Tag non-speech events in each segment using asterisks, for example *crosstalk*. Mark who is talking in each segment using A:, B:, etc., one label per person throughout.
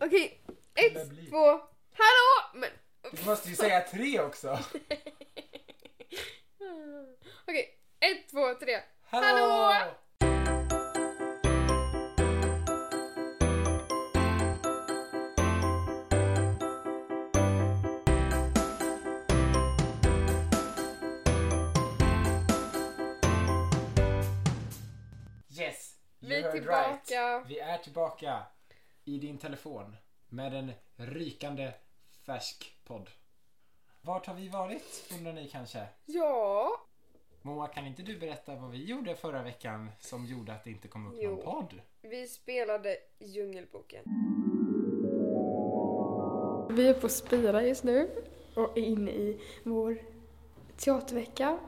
A: Okej,
B: Eller
A: ett,
B: bli.
A: två, hallå!
B: *laughs*
A: Men,
B: Du måste ju säga tre också.
A: okej, ett, två, tre.
B: Hallå!
A: Hallå!
B: Yes! You
A: Vi är
B: heard
A: tillbaka.
B: Right. Vi är tillbaka i din telefon med en rykande färsk podd. Vart har vi varit undrar ni kanske?
A: Ja,
B: Moa, kan inte du berätta vad vi gjorde förra veckan som gjorde att det inte kom upp någon
A: Jo.
B: podd?
A: vi spelade Djungelboken. Vi är på Spira just nu och är inne i vår teatervecka.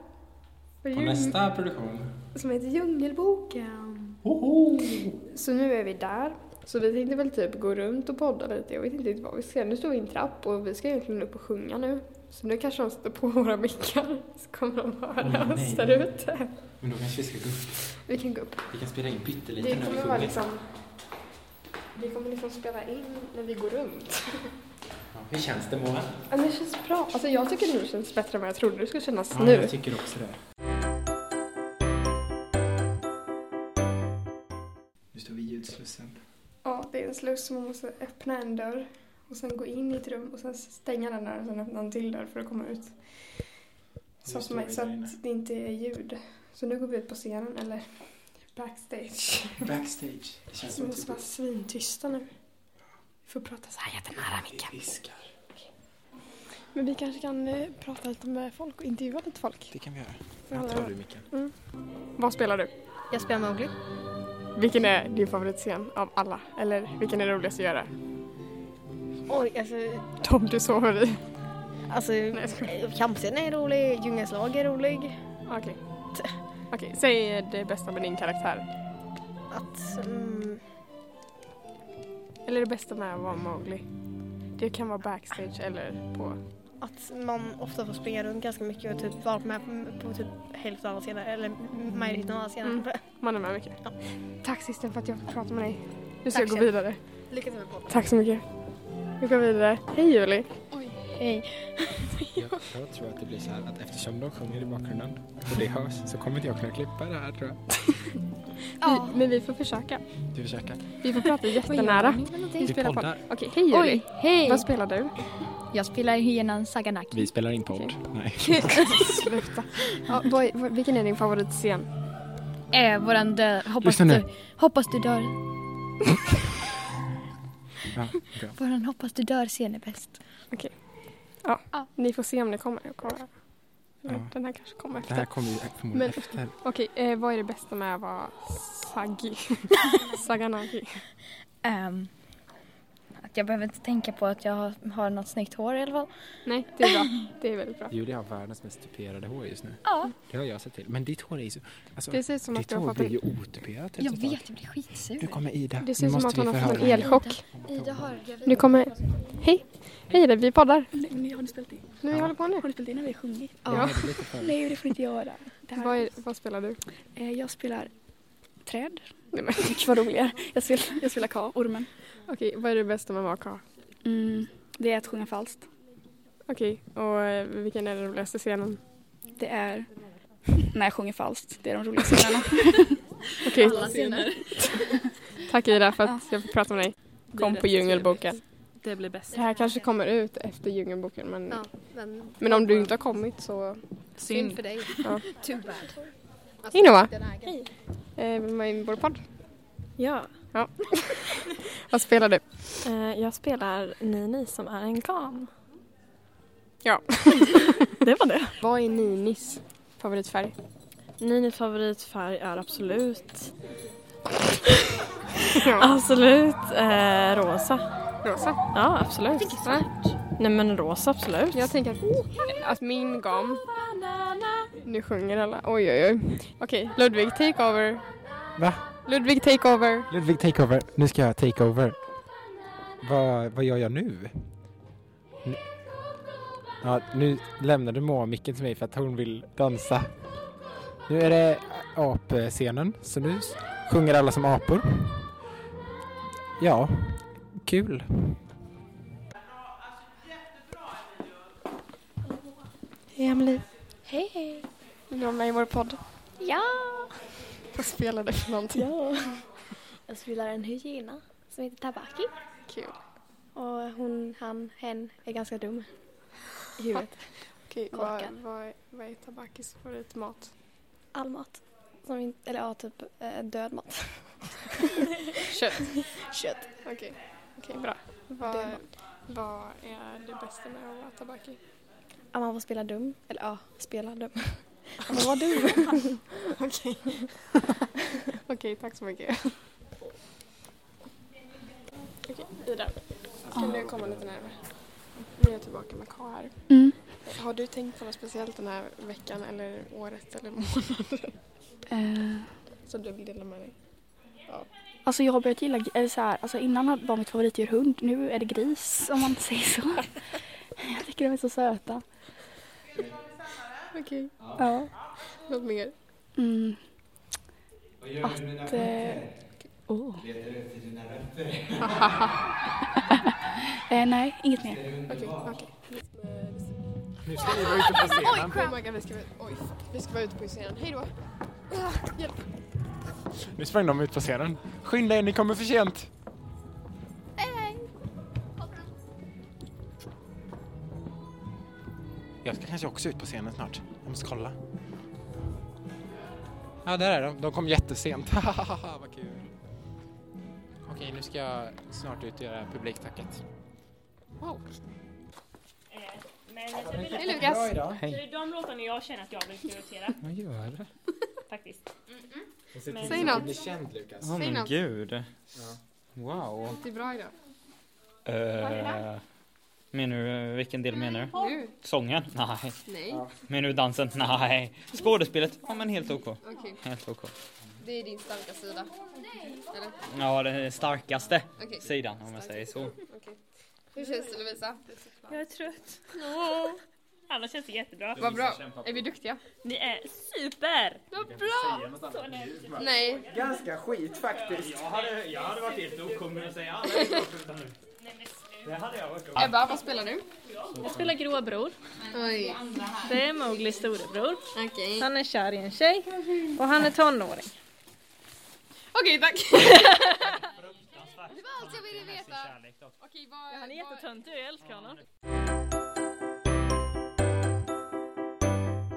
A: Mm.
B: På nästa produktion.
A: Som heter Djungelboken. Så nu är vi där. Så vi tänkte väl typ gå runt och podda lite. Jag vet inte riktigt vad vi ska. Nu står vi i en trapp och vi ska egentligen upp och sjunga nu. Så nu kanske de sätter på våra mickar. Så kommer de höra
B: Åh,
A: oss
B: nej.
A: där ute.
B: Men då kanske vi ska gå upp.
A: Vi kan gå upp.
B: Vi kan spela in pyttelite
A: Det kommer vara liksom... Vi kommer liksom spela in när vi går runt.
B: Hur känns det Moa?
A: Ja, men det känns bra. Alltså jag tycker nu känns bättre än vad jag trodde det skulle kännas nu.
B: tycker också det. Nu står vi i ljudslussen.
A: Ja, det är en sluss som man måste öppna en dörr och sen gå in i ett rum och sen stänga den dörren och sen öppna en till dörr för att komma ut. Så,
B: Nu
A: att,
B: står
A: man,
B: vi
A: så
B: där inne.
A: att det inte är ljud. Så nu går vi ut på scenen, eller backstage.
B: Backstage. Det känns
A: Vi
B: som typ att
A: måste
B: vi
A: vara svintysta nu. Vi får prata så här jättenära
B: vi
A: micken.
B: viskar.
A: Men vi kanske kan eh, prata lite med folk och intervjua lite folk.
B: Det kan vi göra.
A: Ja,
B: Här tar du micken.
A: Vad spelar du?
C: Jag spelar Mowgli.
A: Vilken är din favoritscen av alla? Eller vilken är roligast att göra?
C: Oj, alltså...
A: De du sover i.
C: alltså eh, Kampscenen är rolig, Djungelns lag är rolig.
A: Okej. Okej, säg det bästa med din karaktär.
C: Att... Mm,
A: Eller det bästa med att vara Mowgli. Det kan vara backstage eller på...
C: att man ofta får springa runt ganska mycket och typ vara med på, på typ hälften av alla scener, eller majoriteten av alla scener. *laughs*
A: Mm. Man är med mycket.
C: Ja.
A: Tack sisten för att jag fick prata med dig. Nu ska
C: Tack
A: jag gå
C: själv.
A: vidare.
C: Lycka till med podden.
A: Tack så mycket. Vi går vidare. Hej Julie.
C: Hej.
B: Jag, jag tror att det blir så här att eftersom de sjunger i bakgrunden och det hörs så kommer inte jag kunna klippa det här tror jag.
C: Ja.
A: Vi, men vi får försöka.
B: Du försöker.
A: Vi får *laughs* prata jättenära.
B: Vi
A: Vi spelar på.
B: poddar.
A: Okej, hej Julie.
D: Oj, hej!
A: Vad spelar du?
D: Jag spelar hyenan Saganaki.
B: Vi spelar in podd.
A: *laughs*
B: Nej.
A: Sluta. Ja, vad- vad- vilken är din favoritscen?
D: Äh, våran död. Hoppas
B: Lyssna nu.
D: du, hoppas du dör.
B: Ja, bra.
D: Våran hoppas du dör-scen är bäst.
A: Ni får se om ni kommer. Jag kommer.
B: Ja.
A: Den här kanske kommer
B: Det
A: efter.
B: här kommer ju förmodligen
A: Men-
B: efter.
A: Okej, eh, vad är det bästa med att vara *laughs* saggi? Saganagi.
D: Ehm, att jag behöver inte tänka på att jag har, har något snyggt hår i alla fall.
A: Nej, det är bra. Det är väldigt bra.
B: Julia har världens mest tuperade hår just nu.
D: Ja.
B: Det har jag sett till. Men ditt hår är ju så... Alltså,
A: Det ser ut som att
B: ditt
A: du har
B: hår
A: fått
B: blir
A: en,
B: ju otuperat
D: Jag
B: efter ett
D: vet, jag blir
B: tag. Nu
D: skitsur.
B: typ kommer Ida.
A: det ser ut
B: nu
A: som att
B: måste
A: hon
B: vi
A: har fått en
B: förhöra henne.
A: elchock.
D: Ida har
A: Nu kommer... Hej! Hej där, vi poddar.
E: Men har ni spelat in?
A: Nu
B: Ja.
A: håller på nu.
E: Har ni spelat in när vi har sjungit?
B: Jag hörde lite för mig.
E: Nej, det får ni inte göra. Det här,
A: Vad, är, vad spelar du?
E: eh, jag spelar träd. *laughs*
A: Nej, men-
E: Gud vad roligare. Jag spelar, jag spelar ka, ormen.
A: *laughs* Okej, vad är det bästa med att vara karl?
E: Mm, det är att sjunga falskt.
A: Okej, och eh, vilken är den roligaste scenen?
E: Det är när jag sjunger falskt. Det är de roliga scenerna.
A: Okej, tack Ida för att jag fick prata med dig. Kom på Djungelboken.
F: Det blir bäst.
A: Det här kanske kommer ut efter Djungelboken men,
C: Ja, men,
A: men om du inte har kommit så...
C: Synd
F: Synd.
C: för dig.
D: *laughs*
A: Ja.
C: Too bad. Alltså,
A: Hej Noah!
C: den här-
A: Eh, med i vår podd.
G: Ja,
A: Vad spelar du?
G: eh, jag spelar Nini som är en gam.
A: Ja.
G: *laughs* det var det.
A: Vad är Ninis favoritfärg? *laughs*
G: Ninis favoritfärg är absolut,
A: Ja.
G: absolut eh, rosa.
A: Rosa.
G: Ja, absolut. Nej men rosa absolut.
A: Jag tänker att, att min gam... Nu sjunger alla. Oj, oj, oj. Okej, Ludvig, take over.
B: Va?
A: Ludvig, take over.
B: Ludvig takeover. Nu ska jag takeover. Vad, vad gör jag nu? N- Ja, nu lämnade Moa micken till mig för att hon vill dansa. Nu är det apscenen, så nu s- sjunger alla som apor. Ja, Kul.
H: Hej Emily.
I: Hej, hej.
H: Vill du vara med i vår podd?
I: Ja!
H: Vad spelar du för någonting?
D: Ja. *laughs* Jag spelar en hygiena som heter Tabaki.
H: Kul.
D: Och hon, han, hen är ganska dum i huvudet.
H: Okej, vad,
D: Korkad.
H: vad, är- vad är Tabakis favoritmat?
D: All mat. Som in, eller ja, typ eh, död mat.
H: Kött.
D: Kött.
H: Okej, Okej, bra. Vad,
D: Det är
H: vad är det bästa med att vara Tabaki?
D: Att man får spela dum. Eller ja, spela dum. Att man var
A: *laughs*
D: dum.
H: Okej. Okej, tack så mycket. Okej, Ida. Kan du komma lite närmare? Vi är tillbaka med K här.
J: Mm.
H: Har du tänkt på något speciellt den här veckan eller året eller månaden
J: Eh,
H: som du vill dela med dig?
J: alltså jag har börjat gilla, eller så här, alltså innan var mitt favoritdjur hund, nu är det gris om man säger så. *laughs* jag tycker de är så söta.
H: Okej.
J: Ja.
H: Något mer?
J: Mm. Att... Eh, oh. *laughs* eh, nej, inget mer.
H: Okej, okej.
B: Nu ska vi vara ute på scenen.
H: Oh my god, vi ska, vara- oj, vi ska vara ute på scenen. Hej då! Ah, hjälp!
B: Nu sprang de ut på scenen. Skynda er, ni kommer för sent. Jag ska kanske också ut på scenen snart. Jag måste kolla. Ja, där är de. De kom jättesent. *laughs* Hahaha, vad kul. Okej, nu ska jag snart ut och göra publiktacket.
C: Men jag skulle
H: Hej
C: vilja...
H: Lukas!
B: idag.
C: Det
B: Hej.
C: är de låtarna jag känner att jag vill prioritera *laughs*
K: Vad gör du?
C: faktiskt.
B: Säg
H: Säg något.
B: blir känd, Lukas.
K: Åh
H: Säg
K: men
H: något.
K: gud. Wow.
H: Det är bra idag.
K: Uh, menar du, vilken del menar du?
H: Nu?
K: Sången? Nej.
H: Nej.
K: Menar du dansen? Nej. Skådespelet? Ja men helt OK.
H: Okej,
K: Helt OK.
H: det är din starka sida. Eller?
K: Ja den starkaste
H: Okej.
K: sidan om jag säger så.
H: Hur känns det Lovisa?
C: Jag är trött. Annars känns det jättebra.
H: Vad bra. Är vi duktiga?
C: Ni är super!
H: Vad bra! Nej.
B: Ganska skit faktiskt.
K: Jag hade, jag hade varit helt OK med att säga alla Det hade jag varit
H: Ebba, vad spelar du?
C: Jag spelar gråbror.
H: Oj.
C: Det är Mowglis storebror.
H: Okej.
L: Han är kär i en tjej och han är tonåring.
H: Okej, tack.
K: Det
H: var allt jag ville veta. Okej, vad...
C: Han är jättetöntig och jag älskar honom.
A: *laughs*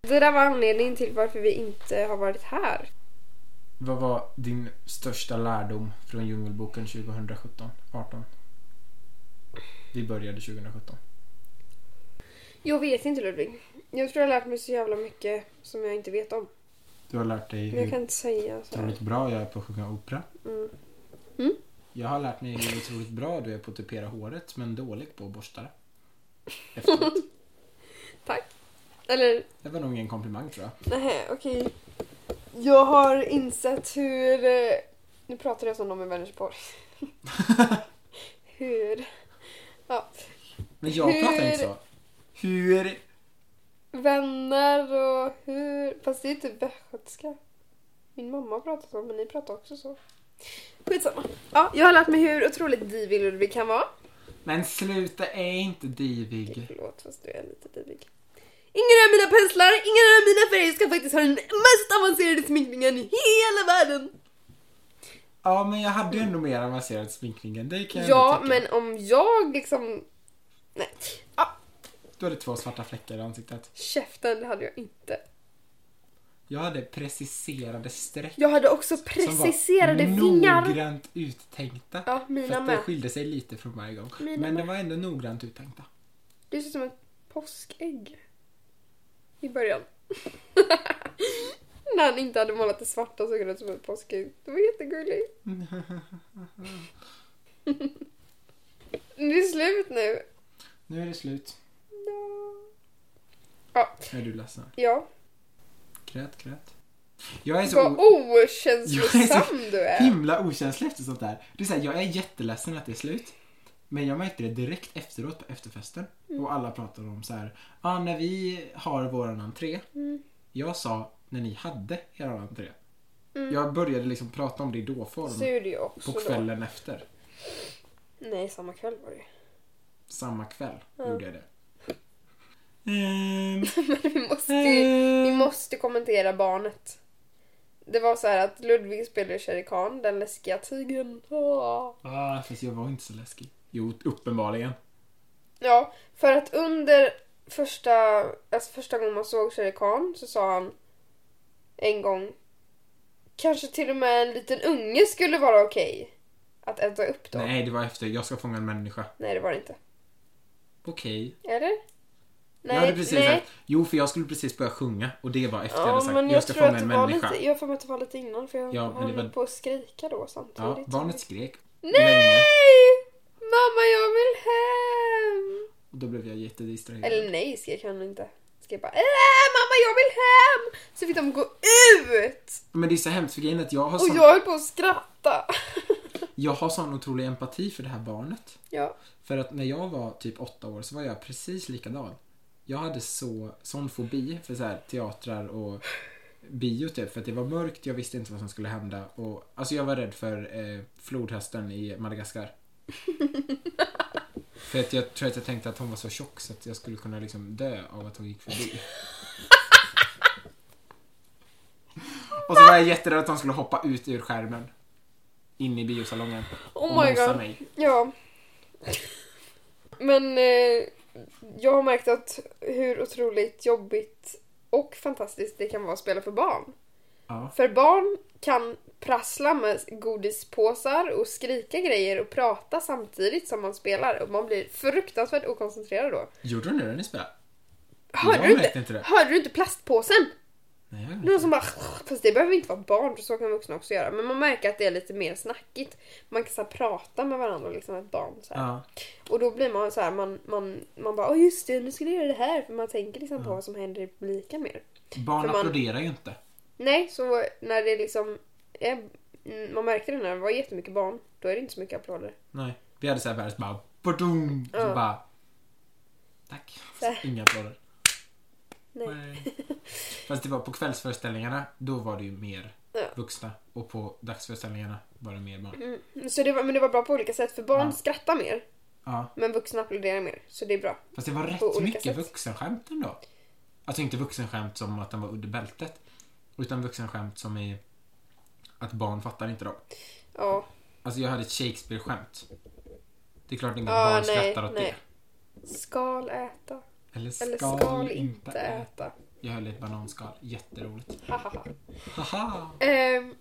A: Det där var anledningen till varför vi inte har varit här.
B: Vad var din största lärdom från Djungelboken 2017? 18? Vi började 2017.
A: Jag vet inte Ludvig. Jag tror jag har lärt mig så jävla mycket som jag inte vet om.
B: Du har lärt dig
A: Men jag
B: hur
A: kan inte säga så. här.
B: otroligt bra jag är på att sjunga opera.
A: Mm. Mm.
B: Jag har lärt mig hur otroligt bra du är på att typera håret men dålig på att borsta det.
A: *laughs*
B: Efteråt.
A: Eller,
B: Det var nog ingen komplimang tror jag.
A: nej, okej. Jag har insett hur... eh, Nu pratar jag som de i Vänersborg. *laughs* hur
B: Men jag pratar inte så. Hur?
A: vänner och hur... Fast det är typ västgötska. Min mamma pratar så, men ni pratar också så. Skitsamma. Ja, jag har lärt mig hur otroligt divig Ludvig kan vara.
B: Men sluta, är inte divig.
A: Förlåt, fast du är lite divig. Ingen av mina penslar, ingen av mina färger ska faktiskt ha den mest avancerade sminkningen i hela världen.
B: Ja, men jag hade ju ändå mer avancerad sminkning än dig kan jag
A: Ja,
B: ändå tycka.
A: men om jag liksom... Nej,
B: Du hade två svarta fläckar i ansiktet.
A: käften, det hade jag inte.
B: Jag hade preciserade streck.
A: Jag hade också
B: som var
A: preciserade vingar.
B: noggrant uttänkta.
A: Ja, mina
B: Fast det
A: med.
B: skilde sig lite från varje gång.
A: Mina
B: Men det
A: med.
B: var ändå noggrant uttänkta. *laughs*
A: Det ser ut som ett påskägg. I *laughs* början. När han inte hade målat det svarta såg det ut som ett påskägg. Det var jättegulligt. Det är slut nu.
B: Nu är det slut.
A: Ja.
B: Nu är du ledsen.
A: Ja.
B: Grät, grät. Jag är så
A: Vad okänslosam
B: Jag
A: du är.
B: himla okänslig efter sånt där. Det är så här, jag är jätteledsen att det är slut. Men jag märkte det direkt efteråt på efterfesten.
A: Mm.
B: Och alla pratade om så här, ah, när vi har våran entré.
A: Mm.
B: Jag sa när ni hade er
A: Mm.
B: entré. Jag började liksom prata om det i
A: Så
B: dåform
A: gjorde jag också
B: på
A: då.
B: kvällen efter.
A: Nej, samma kväll var det ju.
B: Samma kväll
A: Ja.
B: gjorde jag det. Ehm,
A: *laughs* Vi måste, ju- *laughs* vi måste kommentera barnet. Det var så här att Ludvig spelade Shere Khan, den läskiga tigern. Åh.
B: ah, fast jag var inte så läskig. Jo, uppenbarligen.
A: Ja, för att under första, alltså första gången man såg Shere Khan så sa han en gång kanske till och med en liten unge skulle vara okej att äta upp då.
B: Nej, det var efter. Jag ska fånga en människa.
A: Nej, det var det inte.
B: Okej.
A: Eller?
B: Jag hade precis sagt, jo för jag skulle precis börja sjunga och det var efter jag hade
A: Ja,
B: sagt,
A: men
B: jag,
A: jag,
B: ska
A: tror
B: fånga
A: att det
B: en
A: var
B: människa.
A: lite, jag har för mig att det var lite innan för jag
B: Ja, men
A: var
B: det var-
A: på att skrika då
B: Ja,
A: samtidigt.
B: barnet skrek
A: Nej!
B: länge
A: Mamma, jag vill hem!
B: och då blev jag jättedistraherad.
A: Eller nej, skrek han inte. Skrek bara äh, mamma, jag vill hem! Så fick de gå ut!
B: Men det är så hemskt för grejen är att jag har,
A: Och
B: sån,
A: jag höll på att skratta. *laughs*
B: jag har sån otrolig empati för det här barnet.
A: Ja.
B: För att när jag var typ åtta år så var jag precis likadan. Jag hade så, sån fobi för så här, teatrar och bio typ. För att det var mörkt, jag visste inte vad som skulle hända. Och, alltså jag var rädd för eh, flodhästen i
A: *laughs*
B: Madagaskar. för att jag tror att jag tänkte att hon var så tjock så att jag skulle kunna liksom dö av att hon gick förbi. och så var jag jätterädd att hon skulle hoppa ut ur skärmen. In i biosalongen.
A: Oh
B: och
A: my
B: nosa
A: god.
B: mig.
A: Ja. Men eh, jag har märkt att hur otroligt jobbigt och fantastiskt det kan vara att spela för barn.
B: Ja.
A: För barn kan prassla med godispåsar och skrika grejer och prata samtidigt som man spelar. Och man blir fruktansvärt okoncentrerad då.
B: Gjorde hon det när ni spelade?
A: Hörde
B: jag
A: du
B: märkte
A: inte,
B: inte det.
A: Hörde du inte plastpåsen?
B: Nej, jag
A: Någon som bara... Fast det behöver inte vara barn, för så kan vuxna också göra. Men man märker att det är lite mer snackigt. Man kan så här, prata med varandra liksom ett barn. Så här.
B: Ja.
A: Och då blir man så här, man, man, man bara åh just det, nu ska jag göra det här. För man tänker liksom på vad som händer i publiken mer.
B: Barn
A: För man-
B: applåderar ju inte.
A: Nej, så när det liksom... Är, mm, man märkte det när det var jättemycket barn. Då är det inte så mycket applåder.
B: Nej. Vi hade såhär världens bara... Badum, så
A: Ja.
B: bara... Tack.
A: Så här.
B: Inga applåder.
A: Nej.
B: Fast det var på kvällsföreställningarna, då var det ju mer
A: Ja.
B: vuxna. Och på dagsföreställningarna var det mer barn.
A: Mm. Så det var, men det var bra på olika sätt. För barn skrattar mer.
B: Ja.
A: Men vuxna applåderar mer. Så det är bra.
B: Fast det var
A: På
B: rätt
A: olika
B: mycket
A: sätt.
B: vuxenskämt ändå. Alltså inte vuxenskämt som att den var under bältet. Utan vuxenskämt som i att barn fattar inte dem.
A: Ja.
B: Alltså jag hade ett Shakespeare-skämt. Det är klart inte
A: Ja,
B: att barn
A: Ah, nej,
B: skrattar åt
A: nej. Skal äta.
B: det. Eller skal,
A: Eller skal, inte äta.
B: Jag höll i ett bananskal. Jätteroligt.
A: Hahaha.
B: Haha!
A: Ehm,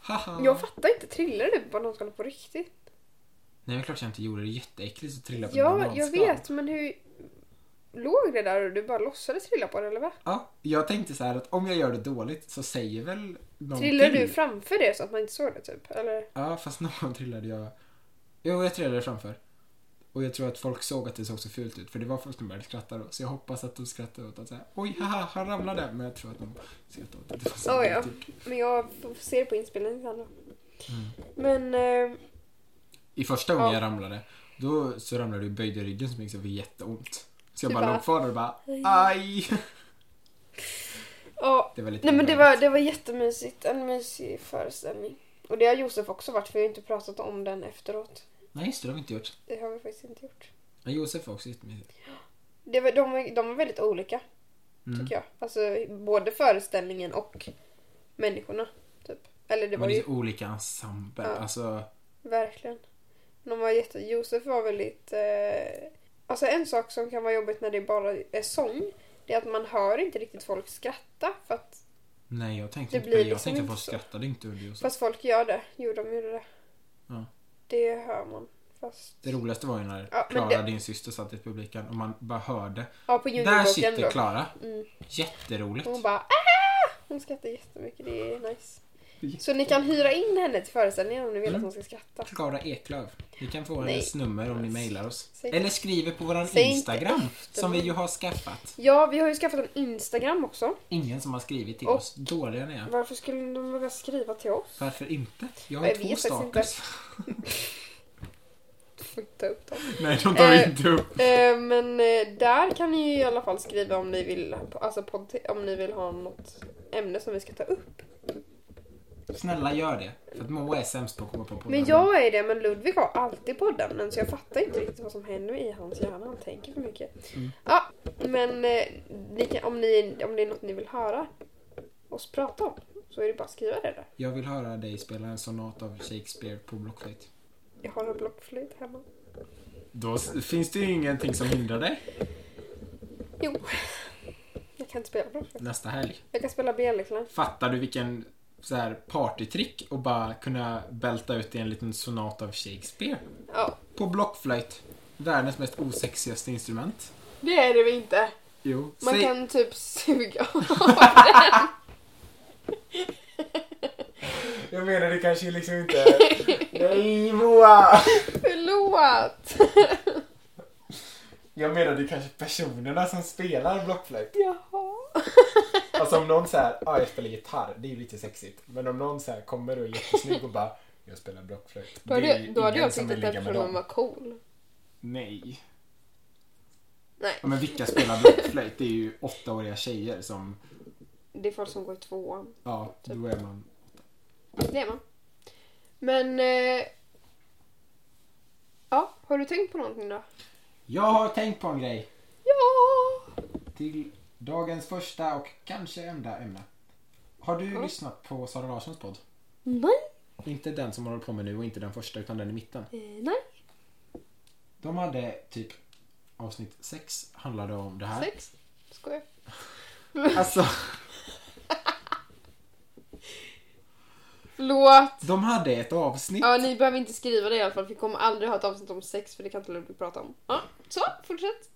B: Haha!
A: jag fattar inte, trillar du på bananskalet på riktigt?
B: Nej, men klart jag inte gjorde det. Jätteäckligt att trilla på ett
A: Ja,
B: bananskal.
A: jag vet, men hur... Låg det där och du bara låtsades trilla på det, eller va?
B: Ja, jag tänkte så här att om jag gör det dåligt så säger väl någon
A: Trillade
B: till.
A: du framför det så att man inte såg det, typ? Eller?
B: Ja, fast *laughs* någon trillade jag... Jo, jag trillade framför. Och jag tror att folk såg att det såg så fult ut, för det var folk som började skratta då. Så jag hoppas att de skrattade åt att säga oj, haha, han ramlade. Men jag tror att de skrattade åt att det var så
A: Oh, ja.
B: fult gjort.
A: Men jag får se det på inspelningen sen då.
B: Mm.
A: Men... ehm,
B: I första gången
A: Ja.
B: jag ramlade, då så ramlade jag och böjde ryggen så mycket så det gjorde jätteont. Så jag
A: Du
B: bara,
A: bara,
B: låg kvar där och bara,
A: "Aj."
B: aj!
A: ja.
B: Det var lite
A: Nej men det var,
B: obehagligt.
A: det var jättemysigt. En mysig föreställning. Och det har Josef också varit, för vi har inte pratat om den efteråt.
B: Nej, just det, det har vi inte gjort.
A: Det har vi faktiskt inte gjort.
B: Men Josef var också jättemysig.
A: Det var, de, var- de var väldigt olika.
B: Mm.
A: tycker jag. Alltså både föreställningen och människorna. Typ. Eller det
B: Det
A: var
B: var det
A: ju
B: är så olika ensemble.
A: Ja.
B: Alltså,
A: verkligen. De var jätte... Josef var väldigt... Eh... Alltså en sak som kan vara jobbigt när det bara är sång. Det är att man hör inte riktigt folk skratta. För att...
B: nej jag tänkte
A: Det
B: inte på
A: blir
B: det. Jag
A: liksom
B: tänkte att
A: inte
B: folk
A: så.
B: skrattade inte under Josef.
A: Fast folk gör det. Jo, de gjorde det.
B: Ja.
A: Det hör man. Fast...
B: Det roligaste var ju när
A: Ja, men
B: Klara,
A: det-
B: din syster, satt i publiken och man bara hörde.
A: Ja, på
B: Där
A: juniorboken
B: sitter
A: då.
B: Klara.
A: Mm.
B: Jätteroligt.
A: Hon bara "Ah!" Hon skrattar jättemycket. Det är nice. Så ni kan hyra in henne till föreställningen om ni vill
B: Mm.
A: att hon ska skratta.
B: Klara Eklöf. Ni kan få
A: Nej.
B: hennes nummer om ni mejlar oss.
A: Säg-
B: Eller skriver på våran
A: Säg inte
B: Instagram
A: efter
B: som vi
A: mig.
B: ju har skaffat.
A: Ja, vi har ju skaffat en Instagram också.
B: Ingen som har skrivit till
A: Och-
B: oss. Dåliga ni är.
A: Varför skulle de våga skriva till oss?
B: Varför inte? Jag har
A: Jag
B: två
A: vet faktiskt inte.
B: stalkers.
A: Får inte ta upp dem.
B: *laughs* Nej, de tar
A: Eh,
B: inte upp.
A: Eh, men eh, där kan ni ju i alla fall skriva om ni vill, alltså podd, om ni vill ha något ämne som vi ska ta upp.
B: Snälla gör det. För att Moa är sämst på att komma på poddar.
A: Men jag är det, men Ludvig har alltid poddämnen så jag fattar inte riktigt vad som händer i hans hjärna. Han tänker för mycket.
B: Mm.
A: Ja, men eh, ni kan, om, ni, om det är något ni vill höra oss prata om så är det bara att skriva det där.
B: Jag vill höra dig spela en sonat av Shakespeare på blockflöjt.
A: Jag har en blockflöjt hemma.
B: Då s- finns det ju ingenting som hindrar dig
A: Jo, jag kan inte spela blockflöjt.
B: nästa helg.
A: Jag kan spela bjällerklang.
B: Fattar du vilken så här partytrick och bara kunna bälta ut i en liten sonat av Shakespeare?
A: Ja.
B: På blockflöjt. Världens mest osexigaste instrument.
A: Det är det vi inte.
B: Jo.
A: Man
B: Säg-
A: kan typ suga av
B: Jag menar det kanske
A: *laughs*
B: liksom inte... Nej Moa!
A: den. Förlåt!
B: Jag menar det kanske personerna som spelar blockflöjt.
A: Jaha.
B: Alltså om någon såhär, ja jag spelar gitarr, det är ju lite sexigt. Men om någon såhär kommer och är jättesnygg och bara, jag spelar blockflöjt.
A: Då
B: det är
A: hade,
B: ju
A: då hade
B: ingen
A: jag
B: som
A: tyckt
B: vill
A: att den
B: ligga med
A: personen
B: dem.
A: var cool.
B: Nej.
A: Nej.
B: Ja, men vilka spelar blockflöjt? Det är ju åttaåriga tjejer som,
A: Det är folk som går i tvåan.
B: ja,
A: Typ.
B: då är man.
A: Det är man. Men... Eh, ja, har du tänkt på någonting då?
B: Jag har tänkt på en grej.
A: Ja!
B: Till dagens första och kanske enda ämne. Har du lyssnat på Sara Larssons podd?
A: Nej.
B: Inte den som hon håller på med nu och inte den första utan den i mitten.
A: Eh, nej.
B: De hade typ avsnitt 6 handlade om det här.
A: Sex? Skojar.
B: Alltså,
A: Förlåt!
B: de hade ett avsnitt.
A: Ja, ni behöver inte skriva det i alla fall för vi kommer aldrig ha ett avsnitt om sex för det kan inte Ludvig prata om. Ja, så, fortsätt.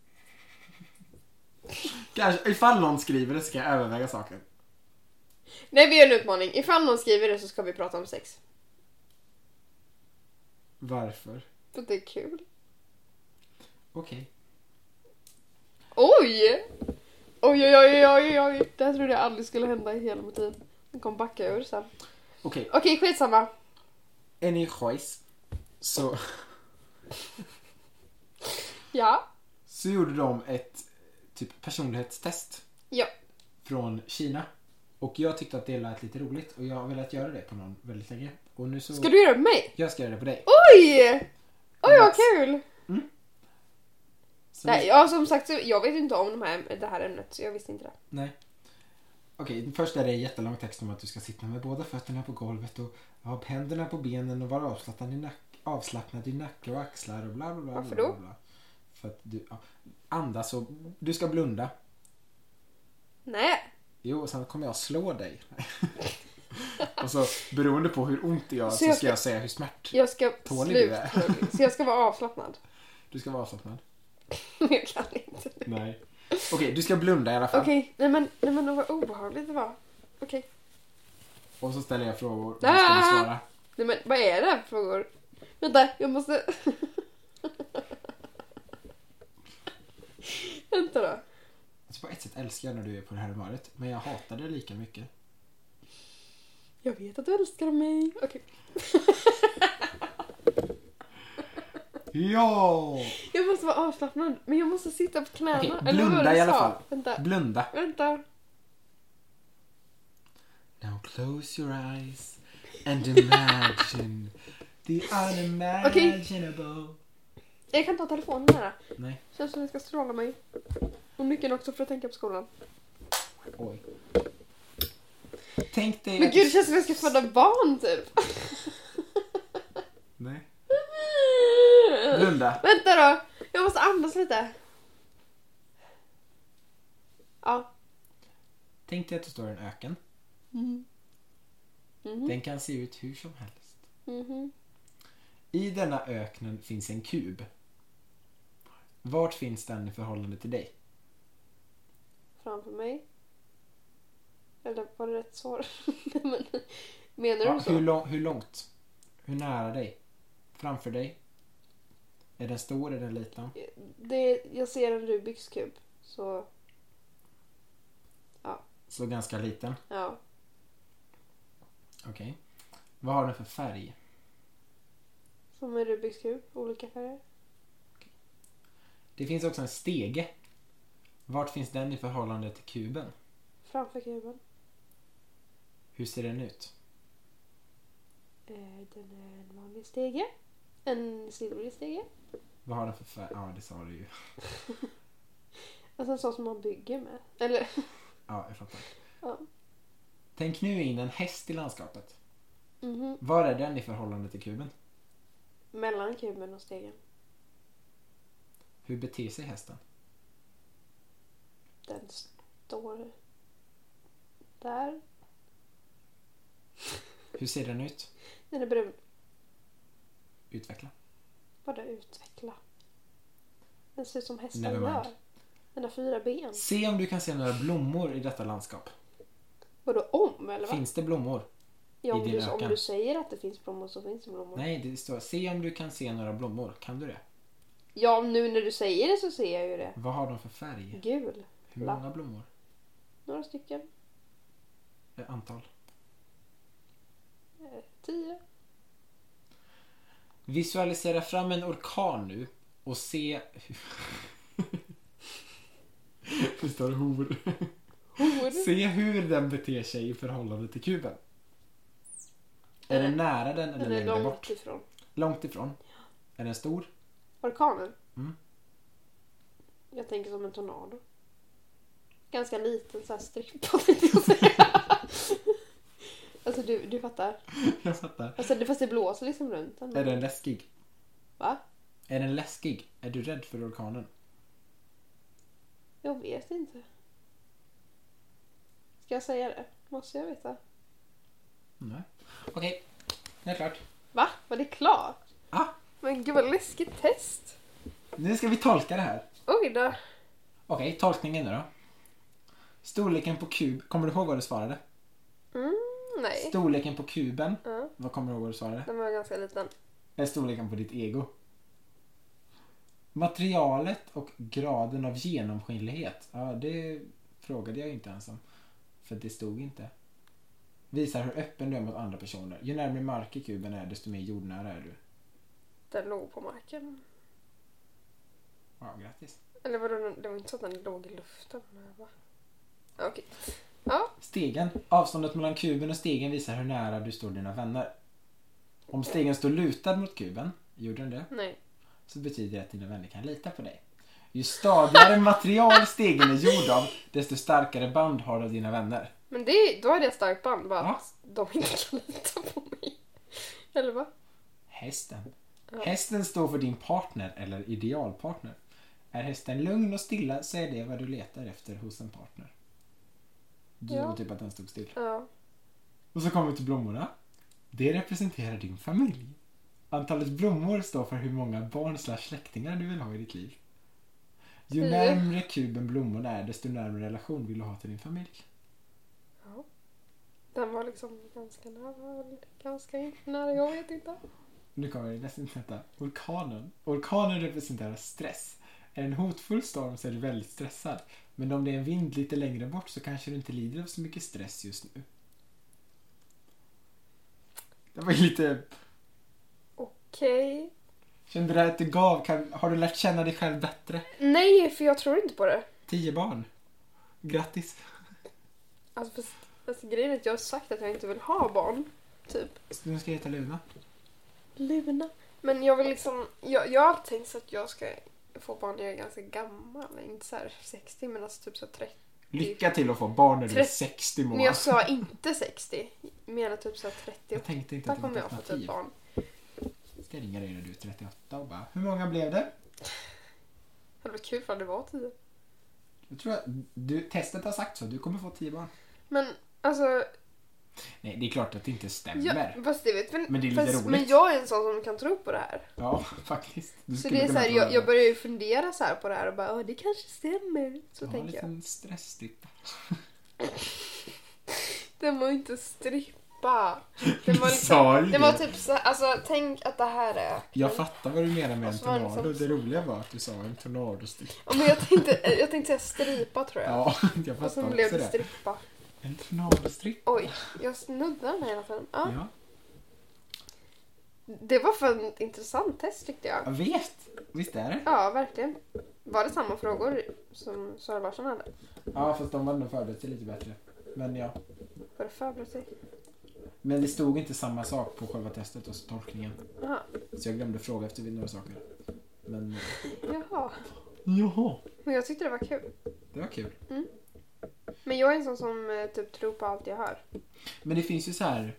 B: Kanske, ifall någon skriver det ska jag överväga saken.
A: Nej, vi gör en utmaning. Ifall någon skriver det så ska vi prata om sex.
B: Varför?
A: För det är kul.
B: Okej.
A: Oj! Oj, oj, oj, oj, oj, oj. Det här trodde jag aldrig skulle hända i hela mitt liv. Den kom backa ur sen.
B: Okej,
A: Okej, skitsamma.
B: anyways. Så,
A: Ja.
B: så gjorde de ett typ personlighetstest
A: Ja.
B: från Kina. Och jag tyckte att det lät lite roligt och jag har velat göra det på någon väldigt länge. Och nu så...
A: Ska du göra det med mig?
B: Jag ska göra det på dig.
A: Oj! Oj, vad kul!
B: Så
A: Nej, ja, som sagt, så- jag vet inte om de här, det här ämnet så jag visste inte det.
B: Nej. Okej, först är det en jättelång text om att du ska sitta med båda fötterna på golvet och ha händerna på benen och vara avslappnad i, nack, avslappnad i nacke och axlar och bla bla bla.
A: Varför
B: bla,
A: då?
B: bla, bla. För att du ja, andas och du ska blunda.
A: Nej.
B: Jo, och sen kommer jag slå dig. *laughs* och så beroende på hur ont det gör
A: Så
B: så,
A: jag
B: ska
A: ska-
B: jag säga hur smärt
A: Jag ska
B: Tålig du
A: sluta. *laughs*
B: är.
A: Så jag ska vara avslappnad. *laughs*
B: du ska vara avslappnad.
A: Jag kan inte.
B: Nej. Okej, du ska blunda i alla fall.
A: Okej, nej men, nej men vad obehagligt det var. Okej.
B: Och så ställer jag frågor och så ska du
A: Ah!
B: svara.
A: Nej men vad är det här för frågor? Vänta, jag måste... *laughs* Vänta då.
B: Alltså på ett sätt älskar jag när du är på det här humöret, men jag hatar det lika mycket.
A: Jag vet att du älskar mig. Okej.
B: Ja!
A: Jag måste vara avslappnad, men jag måste sitta på knäna.
B: Okej,
A: Eller vad var det
B: blunda i
A: du
B: alla
A: sa?
B: fall.
A: Vänta,
B: Blunda.
A: vänta.
B: Now close your eyes and imagine the unimaginable.
A: Jag kan ta telefonen här.
B: Nej,
A: Känns som att jag ska stråla mig. Och nyckeln också för att tänka på skolan.
B: oj. Tänk dig...
A: Men gud, det känns som att jag ska föda barn typ.
B: Nej. Blunda.
A: Vänta då! Jag måste andas lite. Ja.
B: Tänk dig att du står i en öken.
A: Mm. Mhm.
B: Den kan se ut hur som helst.
A: Mhm.
B: I denna öknen finns en kub. Vart finns den i förhållande till dig?
A: Framför mig. Eller var det rätt svar? *laughs* Nej, men, menar
B: Ja,
A: du så?
B: hur, lång, hur långt? Hur nära dig? Framför dig? Är den stor? Är den liten?
A: Det, jag ser en Rubiks kub. Så
B: Så ganska liten.
A: ja,
B: Okej. Vad har den för färg?
A: som en Rubiks kub. Olika färger.
B: Det finns också en stege. Vart finns den i förhållande till kuben?
A: Framför kuben.
B: Hur ser den ut?
A: Eh, Den är en vanlig stege. En silvrig stege.
B: Vad har den för färg? Ja, det sa du ju.
A: Alltså en sån som man bygger med. Eller, *laughs*
B: Ja, jag fattar.
A: ja.
B: Tänk nu in en häst i landskapet.
A: Mhm.
B: Var är den i förhållande till kuben?
A: Mellan kuben och stegen.
B: Hur beter sig hästen?
A: Den står där.
B: Hur ser den ut?
A: Den är brun.
B: Utveckla.
A: Vadå utveckla? Den ser ut som hästar
B: Never mind.
A: gör. Den har fyra ben.
B: Se om du kan se några blommor i detta landskap.
A: Vadå om eller vad?
B: Finns det blommor?
A: ja,
B: i
A: om,
B: din
A: du, om
B: öken?
A: du säger att det finns blommor så finns det blommor.
B: Nej, det står se om du kan se några blommor. Kan du det?
A: Ja, nu när du säger det så ser jag ju det.
B: Vad har de för färg?
A: Gul.
B: Hur många blommor?
A: Några stycken.
B: Eh, Antal.
A: Eh, Tio.
B: Visualisera fram en orkan nu och se... det står hor.
A: Hor.
B: Se hur den beter sig i förhållande till kuben. Är den nära den eller
A: Den är
B: längre
A: långt
B: bort?
A: ifrån.
B: Långt ifrån. Är den stor?
A: Orkanen.
B: Mm.
A: Jag tänker som en tornado. Ganska liten så här strippa *laughs* tänkte jag säga. alltså du, du fattar.
B: *laughs* Jag fattar.
A: Alltså, det- fast det blåser liksom runt den.
B: Är den läskig?
A: Va?
B: Är den läskig? Är du rädd för orkanen?
A: Jag vet inte. Ska jag säga det? Måste jag veta?
B: Nej. Okej, det är klart.
A: Va? Var det klart?
B: Ah.
A: Men gud vad läskigt test.
B: Nu ska vi tolka det här.
A: Oj då.
B: Okej, tolkningen nu då. Storleken på kub... Kommer du ihåg vad du svarade?
A: Mm, nej.
B: Storleken på kuben.
A: Ja,
B: Vad kommer du ihåg vad du svarade?
A: den var ganska liten.
B: Är storleken på ditt ego. Materialet och graden av genomskinlighet. Ja, det frågade jag inte ens om. För det stod inte. Visar hur öppen du är mot andra personer. Ju närmare mark i kuben är desto mer jordnära är du.
A: Den låg på marken.
B: Ja, grattis.
A: Eller vadå, den- det var inte så att den låg i luften. Va? Ja, Okej. Ja,
B: Stegen. Avståndet mellan kuben och stegen visar hur nära du står dina vänner. Om stegen står lutad mot kuben, gjorde den det,
A: nej.
B: så betyder det att dina vänner kan lita på dig. Ju stadigare material stegen är gjord av, desto starkare band har du av dina vänner.
A: Men det, då hade jag starkt band bara. De inte kan lita på mig. Eller va?
B: Hästen.
A: Ja.
B: Hästen står för din partner eller idealpartner. Är hästen lugn och stilla så är det vad du letar efter hos en partner. Du
A: Ja.
B: tror typ att den stod still.
A: Ja.
B: Och så kommer vi till blommorna. Det representerar din familj. Antalet blommor står för hur många barn slash släktingar du vill ha i ditt liv. Ju
A: Tio.
B: närmre kuben blommorna är desto närmre relation vill du ha till din familj.
A: ja. Den var liksom ganska nära. Ganska inte nära, jag vet inte.
B: Nu kommer det nästan detta. Orkanen. Orkanen representerar stress. Är det en hotfull storm så är du väldigt stressad. Men om det är en vind lite längre bort så kanske du inte lider av så mycket stress just nu. Det var ju lite...
A: Okej.
B: Kände du att du gav? Kan, har du lärt känna dig själv bättre?
A: Nej, för jag tror inte på det.
B: Tio barn. Grattis.
A: Alltså, fast, fast grejen är att jag har sagt att jag inte vill ha barn. Typ.
B: Nu ska jag heta Luna.
A: Luna. Men jag vill liksom... Jag, jag har alltid tänkt så att jag ska få barn när jag är ganska gammal. Inte så här 60, men alltså typ så här 30.
B: Lycka till att få barn när du är
A: Trett-
B: 60
A: Men
B: månader.
A: jag sa inte 60. Jag menar typ så här 30.
B: Jag tänkte inte
A: Då
B: att det var
A: kommer jag
B: ett
A: få typ
B: alternativ.
A: barn.
B: Jag ska ringa dig när du är 38 och bara, hur många blev det?
A: Det hade varit kul om det var 10.
B: Jag tror att du, testet har sagt så, du kommer få 10 barn.
A: Men alltså...
B: Nej, det är klart att det inte stämmer.
A: Jag, fast det vet, men,
B: Men det är lite roligt.
A: men jag är en sån som kan tro på det här.
B: Ja, *laughs* faktiskt. Du
A: Så
B: skulle
A: det är så
B: kunna
A: här,
B: få
A: jag, jag börjar ju fundera så här på det här och bara, "Åh, det kanske stämmer. Så
B: Du har en
A: tänker jag. *laughs*
B: liten stressdippa.
A: Den var ju inte
B: *laughs*
A: strippa. Den var,
B: Du sa ju
A: liksom, den var
B: det.
A: typ så här, alltså tänk att det här är...
B: Jag fattar vad du menar med en
A: så var det
B: tornado.
A: liksom-
B: Det roliga var att du sa en tornadostippa.
A: Ja, men jag tänkte, jag tänkte säga stripa tror jag.
B: Ja, *laughs* jag
A: och sen
B: fattar
A: blev
B: också
A: det
B: det.
A: strippa.
B: En tornadostrippa.
A: Oj, jag snuddade den här hela tiden. Ja.
B: Ja.
A: Det var för ett intressant test tyckte
B: Jag
A: jag.
B: vet. Visst är det?
A: Ja, verkligen. Var det samma frågor som Sara Larsson hade?
B: Ja, fast de hade nog förberett sig lite bättre. Men ja.
A: Var det förberett sig?
B: Men det stod inte samma sak på själva testet, alltså tolkningen.
A: Jaha.
B: Så jag glömde fråga efter några saker. Men
A: Jaha.
B: Jaha.
A: Men jag tyckte det var kul.
B: det var kul.
A: Mm. Men jag är en sån som eh, typ tror på allt jag hör.
B: Men det finns ju så här.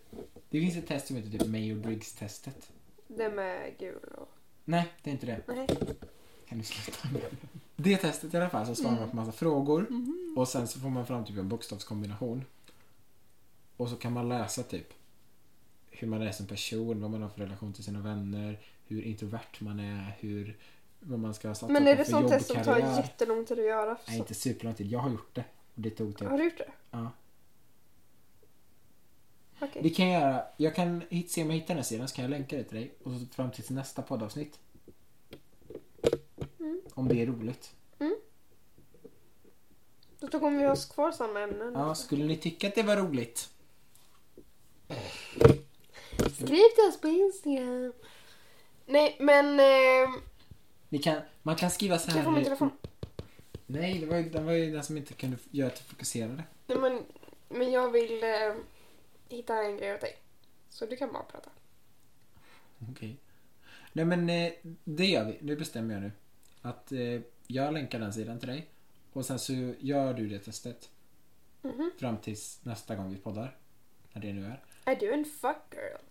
B: Det finns ett test som heter typ Mayor-Briggs-testet.
A: Det med gul och...
B: Nej, det är inte det.
A: Nej.
B: Kan du sluta med det? Det testet i alla fall så svarar
A: Mm.
B: man på massa frågor
A: Mhm.
B: och sen så får man fram typ en bokstavskombination. Och så kan man läsa typ hur man är som person, vad man har för relation till sina vänner, hur introvert man är, hur vad man ska satsa
A: Men är
B: på
A: det
B: för
A: sånt
B: jobb
A: test
B: och
A: som tar
B: karriär.
A: jättelång tid att göra?
B: Nej, inte superlång tid. Jag har gjort det. Och det tog typ...
A: Har du gjort det?
B: Ja.
A: Okej.
B: Vi kan göra... Jag kan hit, se om jag hittar den här sidan så kan jag länka det till dig. Och så fram till nästa poddavsnitt.
A: Mm.
B: Om det är roligt.
A: Då tog vi oss kvar samma ämnen.
B: Ja, skulle ni tycka att det var roligt?
A: Skriv till oss på Instagram. Nej, men... Eh,
B: Ni kan, man kan skriva så
A: kan jag
B: här...
A: få min telefon?
B: Nej, det var, ju, det var ju den som inte kunde göra att jag fokuserade.
A: Nej, men, men jag vill eh, hitta en grej åt dig. Så du kan bara prata.
B: Okej. Nej, men eh, det gör vi. Nu bestämmer jag nu. Att eh, jag länkar den sidan till dig. Och sen så gör du det testet.
A: Mhm.
B: Fram tills nästa gång vi poddar. När det nu är.
A: Är du en fuck girl?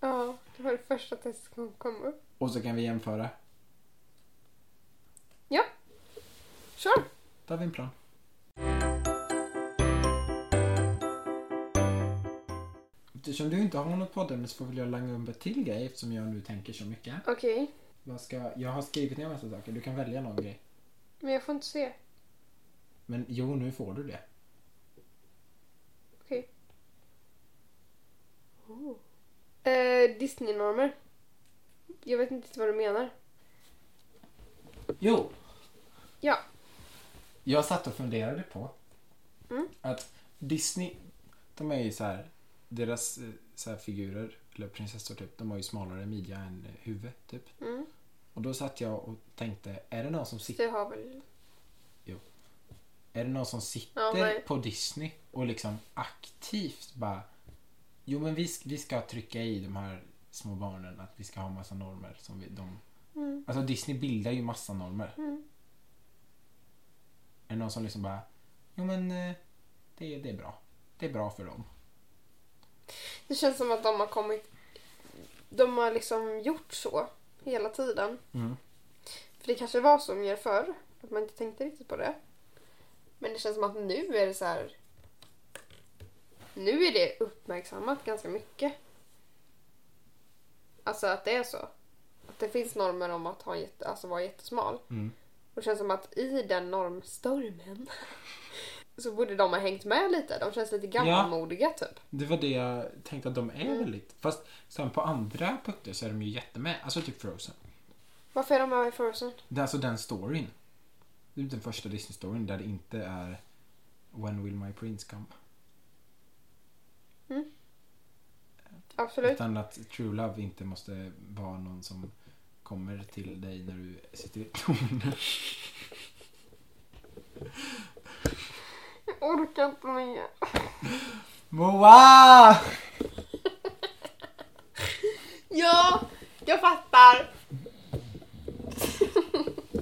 A: Ja, det var det första testet som kom upp.
B: Och så kan vi jämföra.
A: Ja. Sure.
B: Då har vi en plan. Eftersom du inte har något poddämne så får väl jag langa upp ett till grej eftersom jag nu tänker så mycket.
A: Okej,
B: Vad ska, jag har skrivit ner massa saker. Du kan välja någon grej.
A: men jag får inte se.
B: Men jo, nu får du det.
A: Okej. Oh. Eh, Disney-normer. Jag vet inte vad du menar.
B: Jo!
A: Ja.
B: Jag satt och funderade på
A: Mm.
B: att Disney, de är ju så här, deras eh, så här figurer, eller prinsessor typ, de har ju smalare midja än eh, huvud typ.
A: Mm.
B: Och då satt jag och tänkte, är det någon som sitter
A: Det har väl...
B: Är det någon som
A: Ja,
B: sitter
A: nej.
B: på Disney och liksom aktivt bara Jo men vi, sk- vi ska trycka i de här små barnen att vi ska ha massa normer som vi, de
A: Mm.
B: Alltså Disney bildar ju massa normer.
A: Mm.
B: Är det någon som liksom bara Jo men eh, det, det är bra. Det är bra för dem.
A: Det känns som att de har kommit... De har liksom gjort så hela tiden.
B: Mm.
A: För det kanske var så mer förr, att man inte tänkte riktigt på det. Men det känns som att nu är det så här... Nu är det uppmärksammat ganska mycket. Alltså att det är så. Att det finns normer om att ha en jätte, alltså vara jättesmal.
B: Mm.
A: Och det känns som att i den normstormen *laughs* så borde de ha hängt med lite. De känns lite gammalmodiga typ.
B: Det var det jag tänkte att de är
A: Mm.
B: väldigt. Fast sen på andra punkter så är de ju jättemed. Alltså typ Frozen.
A: Varför är de med i Frozen?
B: Det är alltså den storyn. Det är typ den första Disney-storyn där det inte är When will my prince come?
A: Absolut.
B: Utan att true love inte måste vara någon som kommer till dig när du sitter i tornet.
A: Jag orkar inte mer.
B: *laughs* Moa!
A: Ja, jag fattar.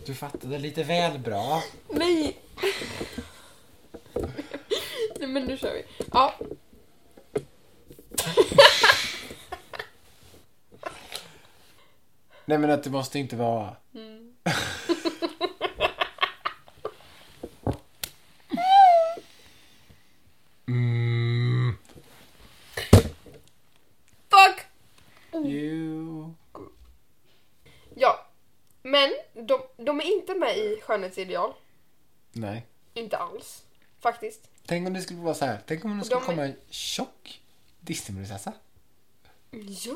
B: Du fattade lite väl bra.
A: Nej. Nej men nu kör vi. Ja.
B: Nej men att det måste inte vara...
A: Mm.
B: *laughs* Mm.
A: Fuck!
B: You.
A: Ja. Men de, de är inte med i skönhetsideal.
B: Nej.
A: Inte alls. Faktiskt.
B: Tänk om det skulle vara så här. Tänk om det skulle
A: De-
B: komma en tjock Disneyprinsessa.
A: Ja.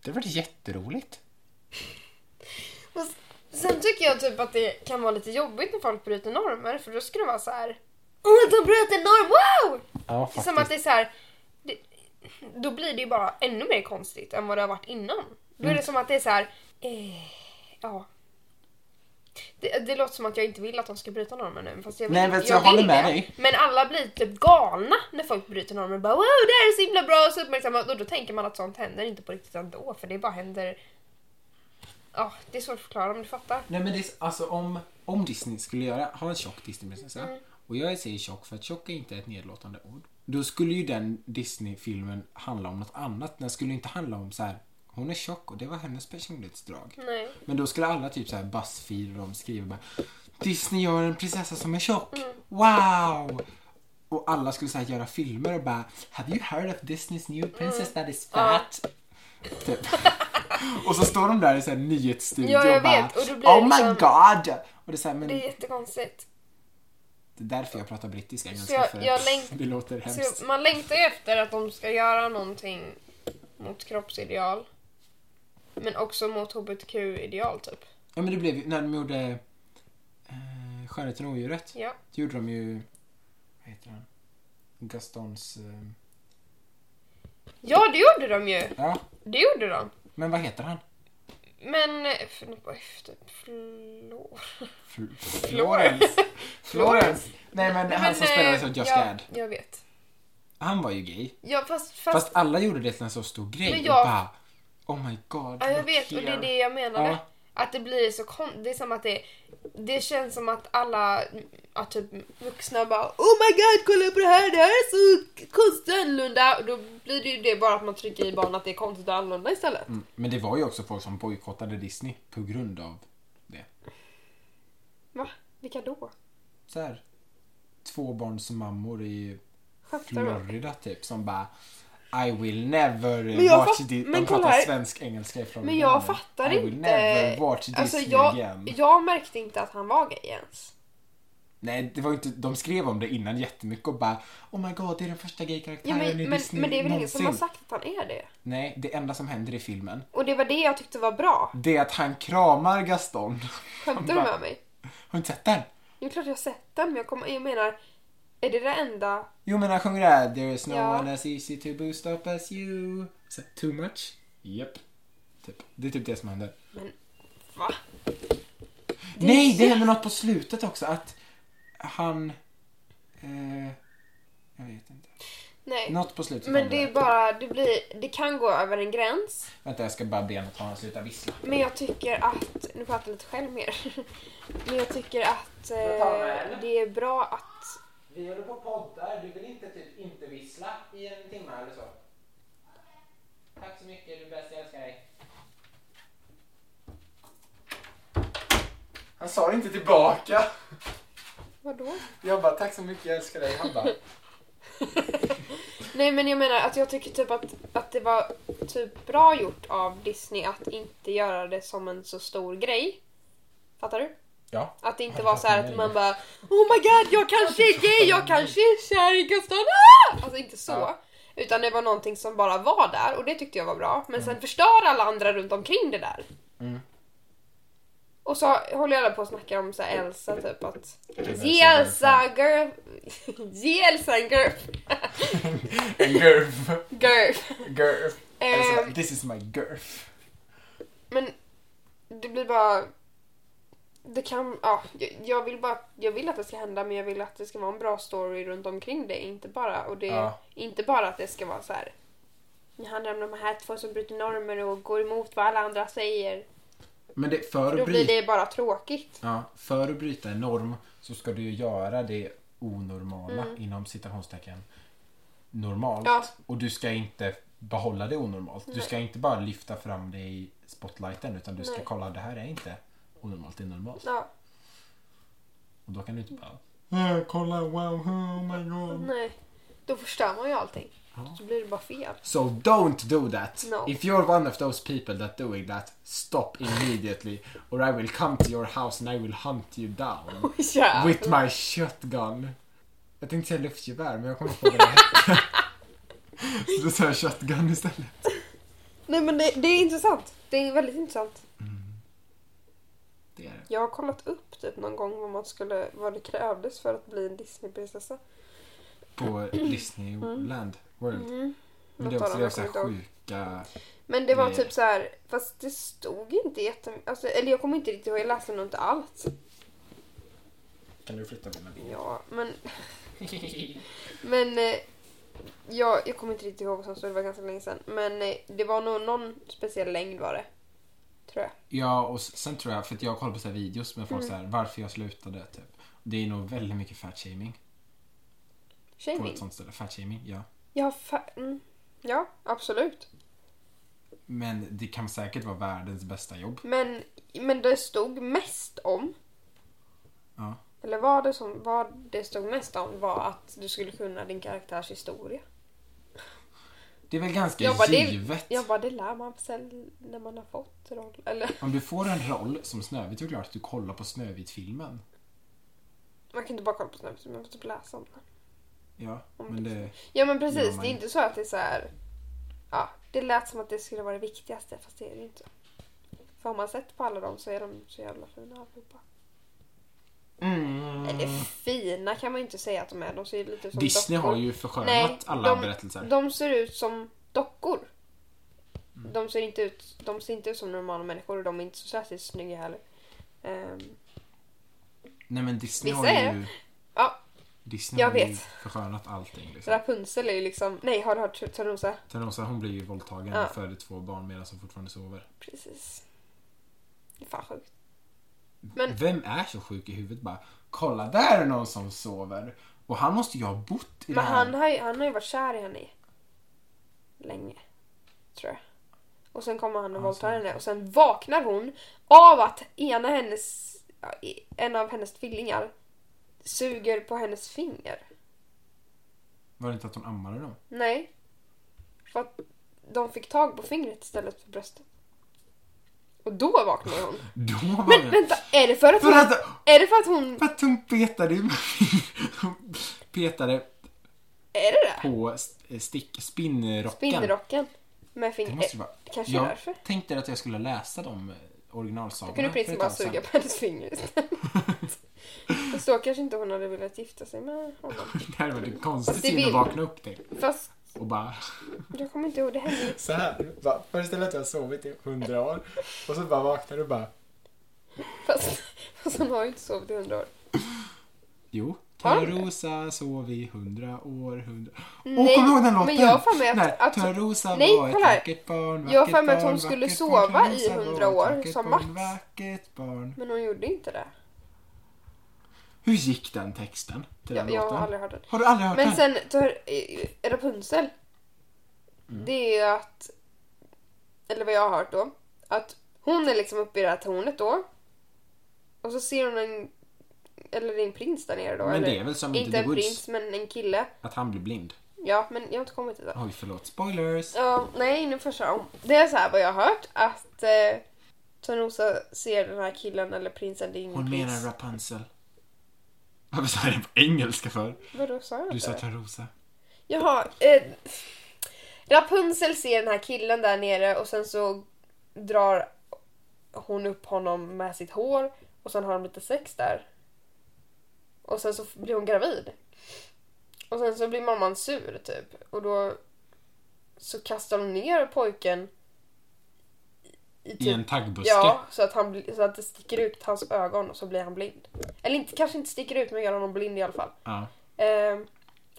B: Det hade varit jätteroligt.
A: Fast Sen tycker jag typ att det kan vara lite jobbigt när folk bryter normer för då skulle det vara så här. Åh, de bröt en norm! Wow!
B: Ja,
A: Det är
B: faktiskt.
A: som att det är så här. Det, då blir det ju bara ännu mer
B: Mm.
A: konstigt än vad det har varit innan. Då är det som att det är så här. Eh, ja. Det, det låter som att jag inte vill att de ska bryta normer nu. Fast jag vill,
B: Nej, men så
A: jag
B: håller
A: vill
B: med
A: det.
B: dig.
A: Men alla blir typ galna när folk bryter normer. Bara, wow, det här är så himla bra och så uppmärksamma. Och då tänker man att sånt händer inte på riktigt ändå. För det bara händer... Ja, det är svårt att förklara om du fattar.
B: Nej men det är, alltså om, om Disney skulle göra, ha en tjock Disneyprinsessa.
A: Mm.
B: Och jag säger tjock för att tjock är inte ett nedlåtande ord. Då skulle ju den Disney-filmen handla om något annat. Den skulle inte handla om så här. hon är tjock och det var hennes personlighetsdrag.
A: Nej.
B: Men då skulle alla typ så här Buzzfeed och de skriver bara Disney gör en prinsessa som är tjock.
A: Mm.
B: Wow! Och alla skulle så här göra filmer och bara Have you heard of Disneys new
A: Mm.
B: princess that is fat? Typ. *laughs* och så står de där i så här nyhetsstudio
A: Ja, jag
B: och bara
A: vet. Och då blir
B: Oh
A: det
B: my
A: liksom-
B: god! Och det är så här, men
A: Det är
B: det
A: jättekonstigt.
B: är därför jag pratar brittiska
A: Så
B: engelska
A: jag,
B: för att
A: jag läng...
B: *laughs* det låter
A: så
B: hemskt.
A: jag- man längtar ju efter att de ska göra någonting mot kroppsideal. Men också mot hbtq-ideal typ.
B: Ja men det blev ju, när de gjorde eh, Skönheten och odjuret.
A: Ja.
B: Då gjorde de ju, vad heter han? Gastons, eh,
A: Ja, det gjorde de ju!
B: ja.
A: Det gjorde de.
B: Men vad heter han?
A: Men... eh, För, för- typ, förlåt.
B: Fl-
A: *laughs*
B: Florence! Florence! Nej men han som
A: eh,
B: spelade som Just
A: ja,
B: Gad.
A: Jag vet.
B: Han var ju gay.
A: Ja, fast... fast,
B: Fast alla gjorde det till en så stor grej.
A: Men jag-
B: Och bara, oh my god.
A: ja, jag
B: look
A: vet och det är
B: here."
A: det jag menade.
B: Ja.
A: Att det blir så konstigt. Det är som att det... Det känns som att alla att typ vuxna bara Oh my god, kolla på det här! Det här är så konstigt och annorlunda! Och då blir det ju det bara att man trycker i barn att det är konstigt och annorlunda istället.
B: Mm, Men det var ju också folk som bojkottade Disney på grund av det.
A: Va? Vilka då?
B: Så här, tvåbarnsmammor i
A: Skämtar du?
B: Florida typ som bara I will never
A: Men jag
B: watch
A: fatt-
B: this.
A: men
B: De
A: kolla
B: pratar
A: här.
B: svensk-engelska ifrån
A: Men jag
B: början.
A: fattar
B: Mm. I will
A: inte.
B: never watch Disney
A: Alltså jag,
B: again.
A: jag märkte inte att han var gay ens.
B: Nej, det var ju inte, de skrev om det innan jättemycket och bara Oh my god, det är den första
A: Ja,
B: gay-karaktären
A: men,
B: i
A: men,
B: Disney
A: men det är väl ingen som har
B: någonsin."
A: sagt att han är det?
B: Nej, det enda som händer i filmen
A: Och det var det jag tyckte var bra.
B: det är att han kramar Gaston.
A: Skämtar du
B: bara-
A: med mig?
B: Har du inte sett den?
A: Jo, klart jag har sett den, men jag, kommer, jag menar, är det det enda...
B: Jo men han sjunger det här There is no
A: Ja.
B: one as easy to boost up as you. Så, too much? Yep. Typ. Det är typ det som händer.
A: Men, va?
B: Nej, det händer något på slutet också. Att han... Eh, jag vet inte.
A: Nej.
B: Något på slutet
A: Men
B: händer.
A: det är bara, det blir, det kan gå över en gräns.
B: Vänta, jag ska bara be honom att han slutar vissla.
A: Men jag tycker att, nu pratar jag lite själv mer. *laughs* Men jag tycker att eh, det är bra att,
B: Vi håller på poddar. Du vill inte typ inte vissla i en timme eller så? Tack så mycket. Du är bäst. Jag älskar dig. Han sa inte tillbaka.
A: vadå?
B: Jag bara, tack så mycket, jag älskar dig. Han bara,
A: Nej men jag menar att jag tycker typ att, att det var typ bra gjort av Disney att inte göra det som en så stor grej. Fattar du?
B: ja.
A: Att det inte
B: Ja,
A: var så här
B: nej.
A: att man bara Oh my god, jag kanske är gay, jag kanske är kär i Gustav. Ah! Alltså inte så.
B: Ja.
A: Utan det var någonting som bara var där och det tyckte jag var bra. Men sen förstör alla andra runt omkring det där.
B: Mm.
A: Och så håller jag alla på och snackar om så här Elsa typ att
B: Elsa
A: Ge Elsa girl... Ge Elsa en girl... *laughs*
B: Girf,
A: girl.
B: girf.
A: Ehm,
B: This is my girf.
A: Men det blir bara... Det kan... Ja, jag- jag vill bara... Jag vill att det ska hända men jag vill att det ska vara en bra story runt omkring det. Inte bara, och det,
B: Ja.
A: inte bara att det ska vara så här... Det handlar om de här två som bryter normer och går emot vad alla andra säger.
B: Men det, för,
A: Då
B: att
A: blir
B: bryta,
A: det bara tråkigt.
B: ja, för att bryta en norm så ska du ju göra det onormala
A: Mm.
B: inom citationstecken normalt.
A: Ja.
B: Och du ska inte behålla det onormalt. Du
A: Nej.
B: ska inte bara lyfta fram det i spotlighten utan du ska
A: Nej.
B: kolla det här är inte onormalt, det är normalt.
A: Ja,
B: Och då kan du inte bara "Äh, kolla wow, oh my god.
A: nej. Då förstör man ju allting.
B: Ja.
A: Så blir det bara fel. *laughs*
B: So don't do that.
A: No.
B: If you're one of those people that doing that, stop immediately or I will come to your house and I will hunt you down
A: Ja.
B: with my shotgun. Jag tänkte säga luftgevär men jag kommer inte på vad det hette. Så då sa jag shotgun istället.
A: Nej men det, det är intressant. Det är väldigt intressant.
B: Det är det.
A: Jag har kollat upp typ någon gång vad, man skulle, vad det krävdes för att bli en Disneyprinsessa.
B: På Disneyland World.
A: Mm.
B: Men det är
A: Något av
B: också
A: dem,
B: det så här
A: jag kommer inte
B: sjuka
A: Men det var
M: Nej.
A: typ så här, fast det stod inte jättemycket. Alltså, eller jag kommer inte riktigt ihåg, jag läste nog inte allt.
B: Kan du flytta bilden?
A: Ja, men... men eh, ja, jag kommer inte riktigt ihåg vad som stod, det var ganska länge sedan. Men eh, det var nog någon speciell längd var det. Tror jag.
B: Ja, och s- sen tror jag, för att jag kollar på så här videos med folk
A: Mm.
B: så här, varför jag slutade typ. Det är nog väldigt mycket fatshaming på
A: Shaming?
B: ett sånt ställe. Fatshaming, ja.
A: Ja, fa- mm. ja, absolut.
B: Men det kan säkert vara världens bästa jobb.
A: Men, men det stod mest om,
B: Ja.
A: eller vad det, som, vad det stod mest om var att du skulle kunna din karaktärs historia.
B: Det är väl ganska
A: Jag bara, det,
B: givet.
A: jag bara, det lär man sig när man har fått roll. Eller,
B: Om du får en roll som Snövit, då är det klart att du kollar på Snövit-filmen.
A: man kan inte bara kolla på snabbt, man måste läsa om det.
B: Ja, men det...
A: Ja men precis,
B: gör man
A: det är
B: ju.
A: inte så att det är så här. Ja, det lät som att det skulle vara det viktigaste, fast det är det ju inte. För har man sett på alla dem så är de så jävla fina allihopa.
B: Mm.
A: Eller fina kan man ju inte säga att de är, de ser ju lite som
B: Disney
A: dockor.
B: har ju förskönat
A: Nej,
B: alla
A: de,
B: berättelser.
A: De ser ut som dockor.
B: Mm.
A: De, ser inte ut, de ser inte ut som normala människor och de är inte så särskilt snygga heller. Ehm,
B: Nej men Disney
A: Vissa
B: har
A: är
B: ju...
A: det. ja,
B: Disney
A: Jag
B: har ju
A: vet.
B: förskönat allting. Liksom.
A: Rapunzel är ju liksom... Nej, har du hört Tör- Törnrosa?
B: Törnrosa hon blir ju våldtagen
A: Ja.
B: och föder två barn medan hon fortfarande sover.
A: Precis. Det är fan sjukt. Men-
B: Vem är så sjuk i huvudet bara Kolla där är någon som sover! Och han måste ju ha bott i
A: Men
B: det här.
A: han har, ju, han har ju varit kär i henne i... Länge. Tror jag. Och sen kommer han och våldtar henne och sen vaknar hon av att ena hennes... ja, i- En av hennes tvillingar suger på hennes finger.
B: Var det inte att hon ammade dem?
A: Nej. För att de fick tag på fingret istället för bröstet. Och då vaknade
B: *laughs*
A: hon.
B: Då var
A: Men vänta, är det för att
B: För
A: hon...
B: att-
A: Är det för att hon...
B: För att hon petade ju *laughs* med Hon petade
A: Är det det?
B: på st- stick, spinnrocken.
A: Spinnrocken. Med
B: Det
A: fingret.
B: måste ju vara...
A: Kanske
B: jag
A: därför.
B: tänkte att jag skulle läsa de eh,
A: Då
B: originalsagorna.
A: kunde
B: för
A: prinsen
B: ett
A: bara
B: tag sedan.
A: suga på hennes finger istället. *laughs* Fast då kanske inte hon hade velat gifta sig med honom.
B: Det *laughs* här var ett
A: Fast
B: konstigt
A: det
B: syn
A: vill-
B: att vakna upp till.
A: Fast
B: Och bara...
A: jag kommer inte ihåg, det hände ju.
B: Så här. Bara, föreställ dig att du har sovit i hundra år och så bara vaknar du och bara...
A: Fast, *laughs* fast hon har ju inte sovit i hundra år.
B: Jo.
A: Har du det?
B: Törnrosa sov i hundra år, hundra... Åh,
A: Nej,
B: kommer du ihåg den låten?
A: men jag har för mig att-
B: Nej,
A: att-
B: Törnrosa
A: Nej,
B: var ett
A: kolla här.
B: vackert barn,
A: Jag har för
B: vackert
A: mig att hon
B: barn,
A: skulle
B: vackert
A: sova
B: barn,
A: i
B: Törnrosa var
A: 100 år
B: ett vackert
A: som
B: barn,
A: max.
B: Vackert barn.
A: Men hon gjorde inte det.
B: Hur gick den texten till
A: Jag,
B: den
A: jag
B: låten?
A: har aldrig hört den.
B: Har du aldrig hört
A: Men
B: den?
A: sen tar eh, Rapunzel.
B: Mm.
A: Det är ju att, eller vad jag har hört då, att hon är liksom uppe i det här tornet då. Och så ser hon en, eller det är en prins där nere då.
B: Men
A: eller,
B: det är väl som i
A: Inte
B: The
A: en
B: Woods.
A: prins men en kille.
B: Att han blir blind.
A: Ja, men jag har inte kommit till det.
B: Oj, förlåt. Spoilers!
A: Ja, nej, nu får jag köra om. Det är så här vad jag har hört att eh, Törnrosa ser den här killen eller prinsen, det är ingen
B: Hon
A: prins.
B: menar Rapunzel. Varför sa jag det på engelska för?
A: Vadå, sa jag
B: Du
A: inte
B: sa
A: det?
B: Törnrosa.
A: Jaha. Eh, Rapunzel ser den här killen där nere och sen så drar hon upp honom med sitt hår och sen har de lite sex där. Och sen så blir hon gravid. Och sen så blir mamman sur typ och då så kastar hon ner pojken i,
B: I en taggbuske.
A: Typ. Ja, så att, han, bli- så att det sticker ut hans ögon och så blir han blind. Eller inte, kanske inte sticker ut men gör honom blind i alla fall.
B: Ja.
A: Ehm,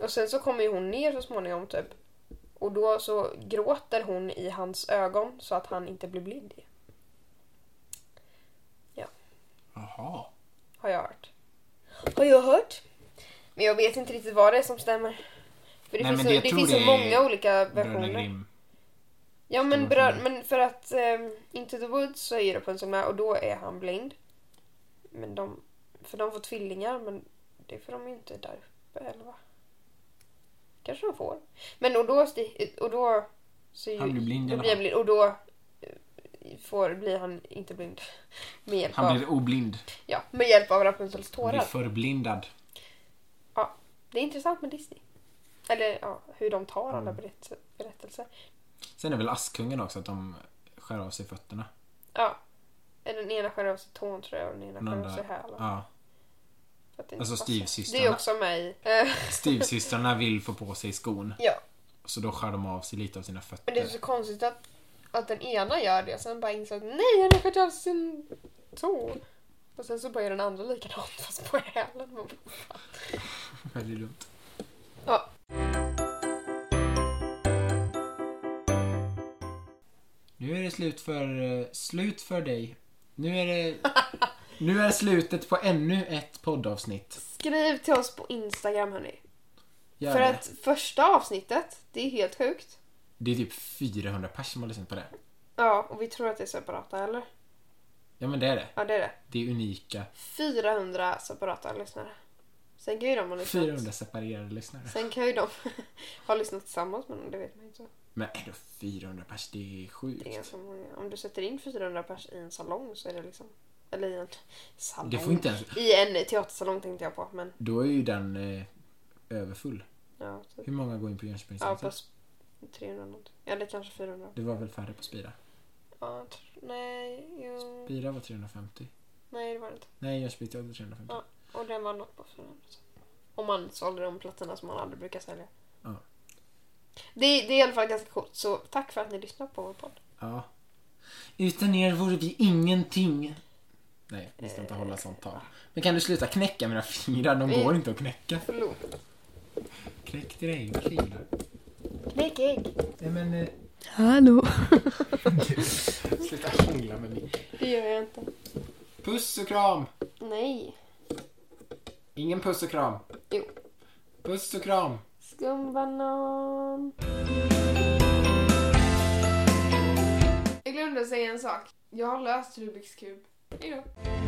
A: och sen så kommer ju hon ner så småningom typ. Och då så gråter hon i hans ögon så att han inte blir blind. igen,
B: Jaha.
A: Har jag hört. Har jag hört? Men jag vet inte riktigt vad det är som stämmer. För det
B: Nej,
A: finns,
B: men
A: så,
B: jag
A: det
B: tror
A: finns så
B: det är
A: många olika
B: Bröderna
A: versioner.
B: Grimm.
A: Ja men,
B: Stora
A: brö-
B: filmer.
A: men för att um, Into the Woods så är ju Rapunzel med och då är han blind. Men de, för de får tvillingar men det får de ju inte där uppe eller va? Kanske de får. Men och då, sti- och då så är ju-
B: Han blir blind i
A: då
B: alla
A: blir han
B: fall.
A: blind och då eh, får, blir han inte blind. *laughs* Med hjälp,
B: Han
A: av,
B: blir oblind.
A: ja, med hjälp av Rapunzels
B: Han blir
A: tårar.
B: förblindad.
A: Ja, det är intressant med Disney. Eller ja, hur de tar
B: Mm.
A: alla berätt- berättelser.
B: Sen är väl Askungen också att de skär av sig fötterna.
A: Ja. Den ena skär av sig tån tror jag och den ena
B: Den
A: skär av
B: andra,
A: sig hälen.
B: ja.
A: För att det inte
B: Alltså
A: passar.
B: styvsystrarna.
A: Det är också mig. Eh, *laughs*
B: Styvsystrarna vill få på sig skon.
A: ja,
B: Så då skär de av sig lite av sina
A: men det är
B: fötter.
A: så konstigt att Att den ena gör det och sen bara insåg nej, han har skjutit av sin tå. Och sen så bara gör den andra likadant *laughs* fast på hälen. Man bara,
B: Väldigt dumt.
A: Ja.
B: Nu är det slut för, eh, slut för dig. Nu är det,
A: *laughs*
B: nu är slutet på ännu ett poddavsnitt.
A: Skriv till oss på Instagram hörni.
B: Gör
A: För
B: det.
A: att första avsnittet, det är helt sjukt.
B: det är typ 400 personer som har lyssnat på det.
A: Ja, och vi tror att det är separata eller?
B: Ja men det är det.
A: Ja, det är det.
B: Det är unika.
A: 400 separata lyssnare. Sen kan ju de ha lyssnat.
B: 400 separerade lyssnare.
A: Sen kan ju de *laughs* ha lyssnat tillsammans men det vet man ju inte.
B: Men ändå 400 pers, det är sjukt.
A: Det är ganska många. Om du sätter in 400 pers i en salong så är det liksom... Eller i en salong.
B: Det får inte ens-
A: I en teatersalong tänkte jag på. Men
B: Då är ju den eh, överfull.
A: ja, typ.
B: Hur många går in på Jönköpings
A: Ja,
B: ja,
A: på s- 300 något. Eller kanske 400.
B: Det var väl färre på Spira?
A: Ja, jag tror- nej, jo.
B: Spira var 350.
A: Nej, det var det inte.
B: Nej, Jönköping var 350.
A: Ja, och den var något på 400. Om man sålde de plattorna som man aldrig brukar sälja.
B: Ja.
A: Det, är- det är i alla fall ganska coolt. Så tack för att ni lyssnar på vår podd.
B: Ja. Utan er vore vi ingenting. Nej, vi ska inte hålla sånt tal. Men kan du sluta knäcka mina fingrar? De
A: Vi-
B: går inte att knäcka.
A: Förlåt.
B: Knäck dina egna fingrar.
A: Knäck ägg.
B: Nej men, eh,
C: Hallå.
B: sluta hångla med mig.
A: Det gör jag inte.
B: Puss och kram!
A: Nej.
B: Ingen puss och kram.
A: Jo.
B: Puss och kram!
A: Skumbanan. Jag glömde säga en sak. Jag har löst Rubiks kub. Hejdå.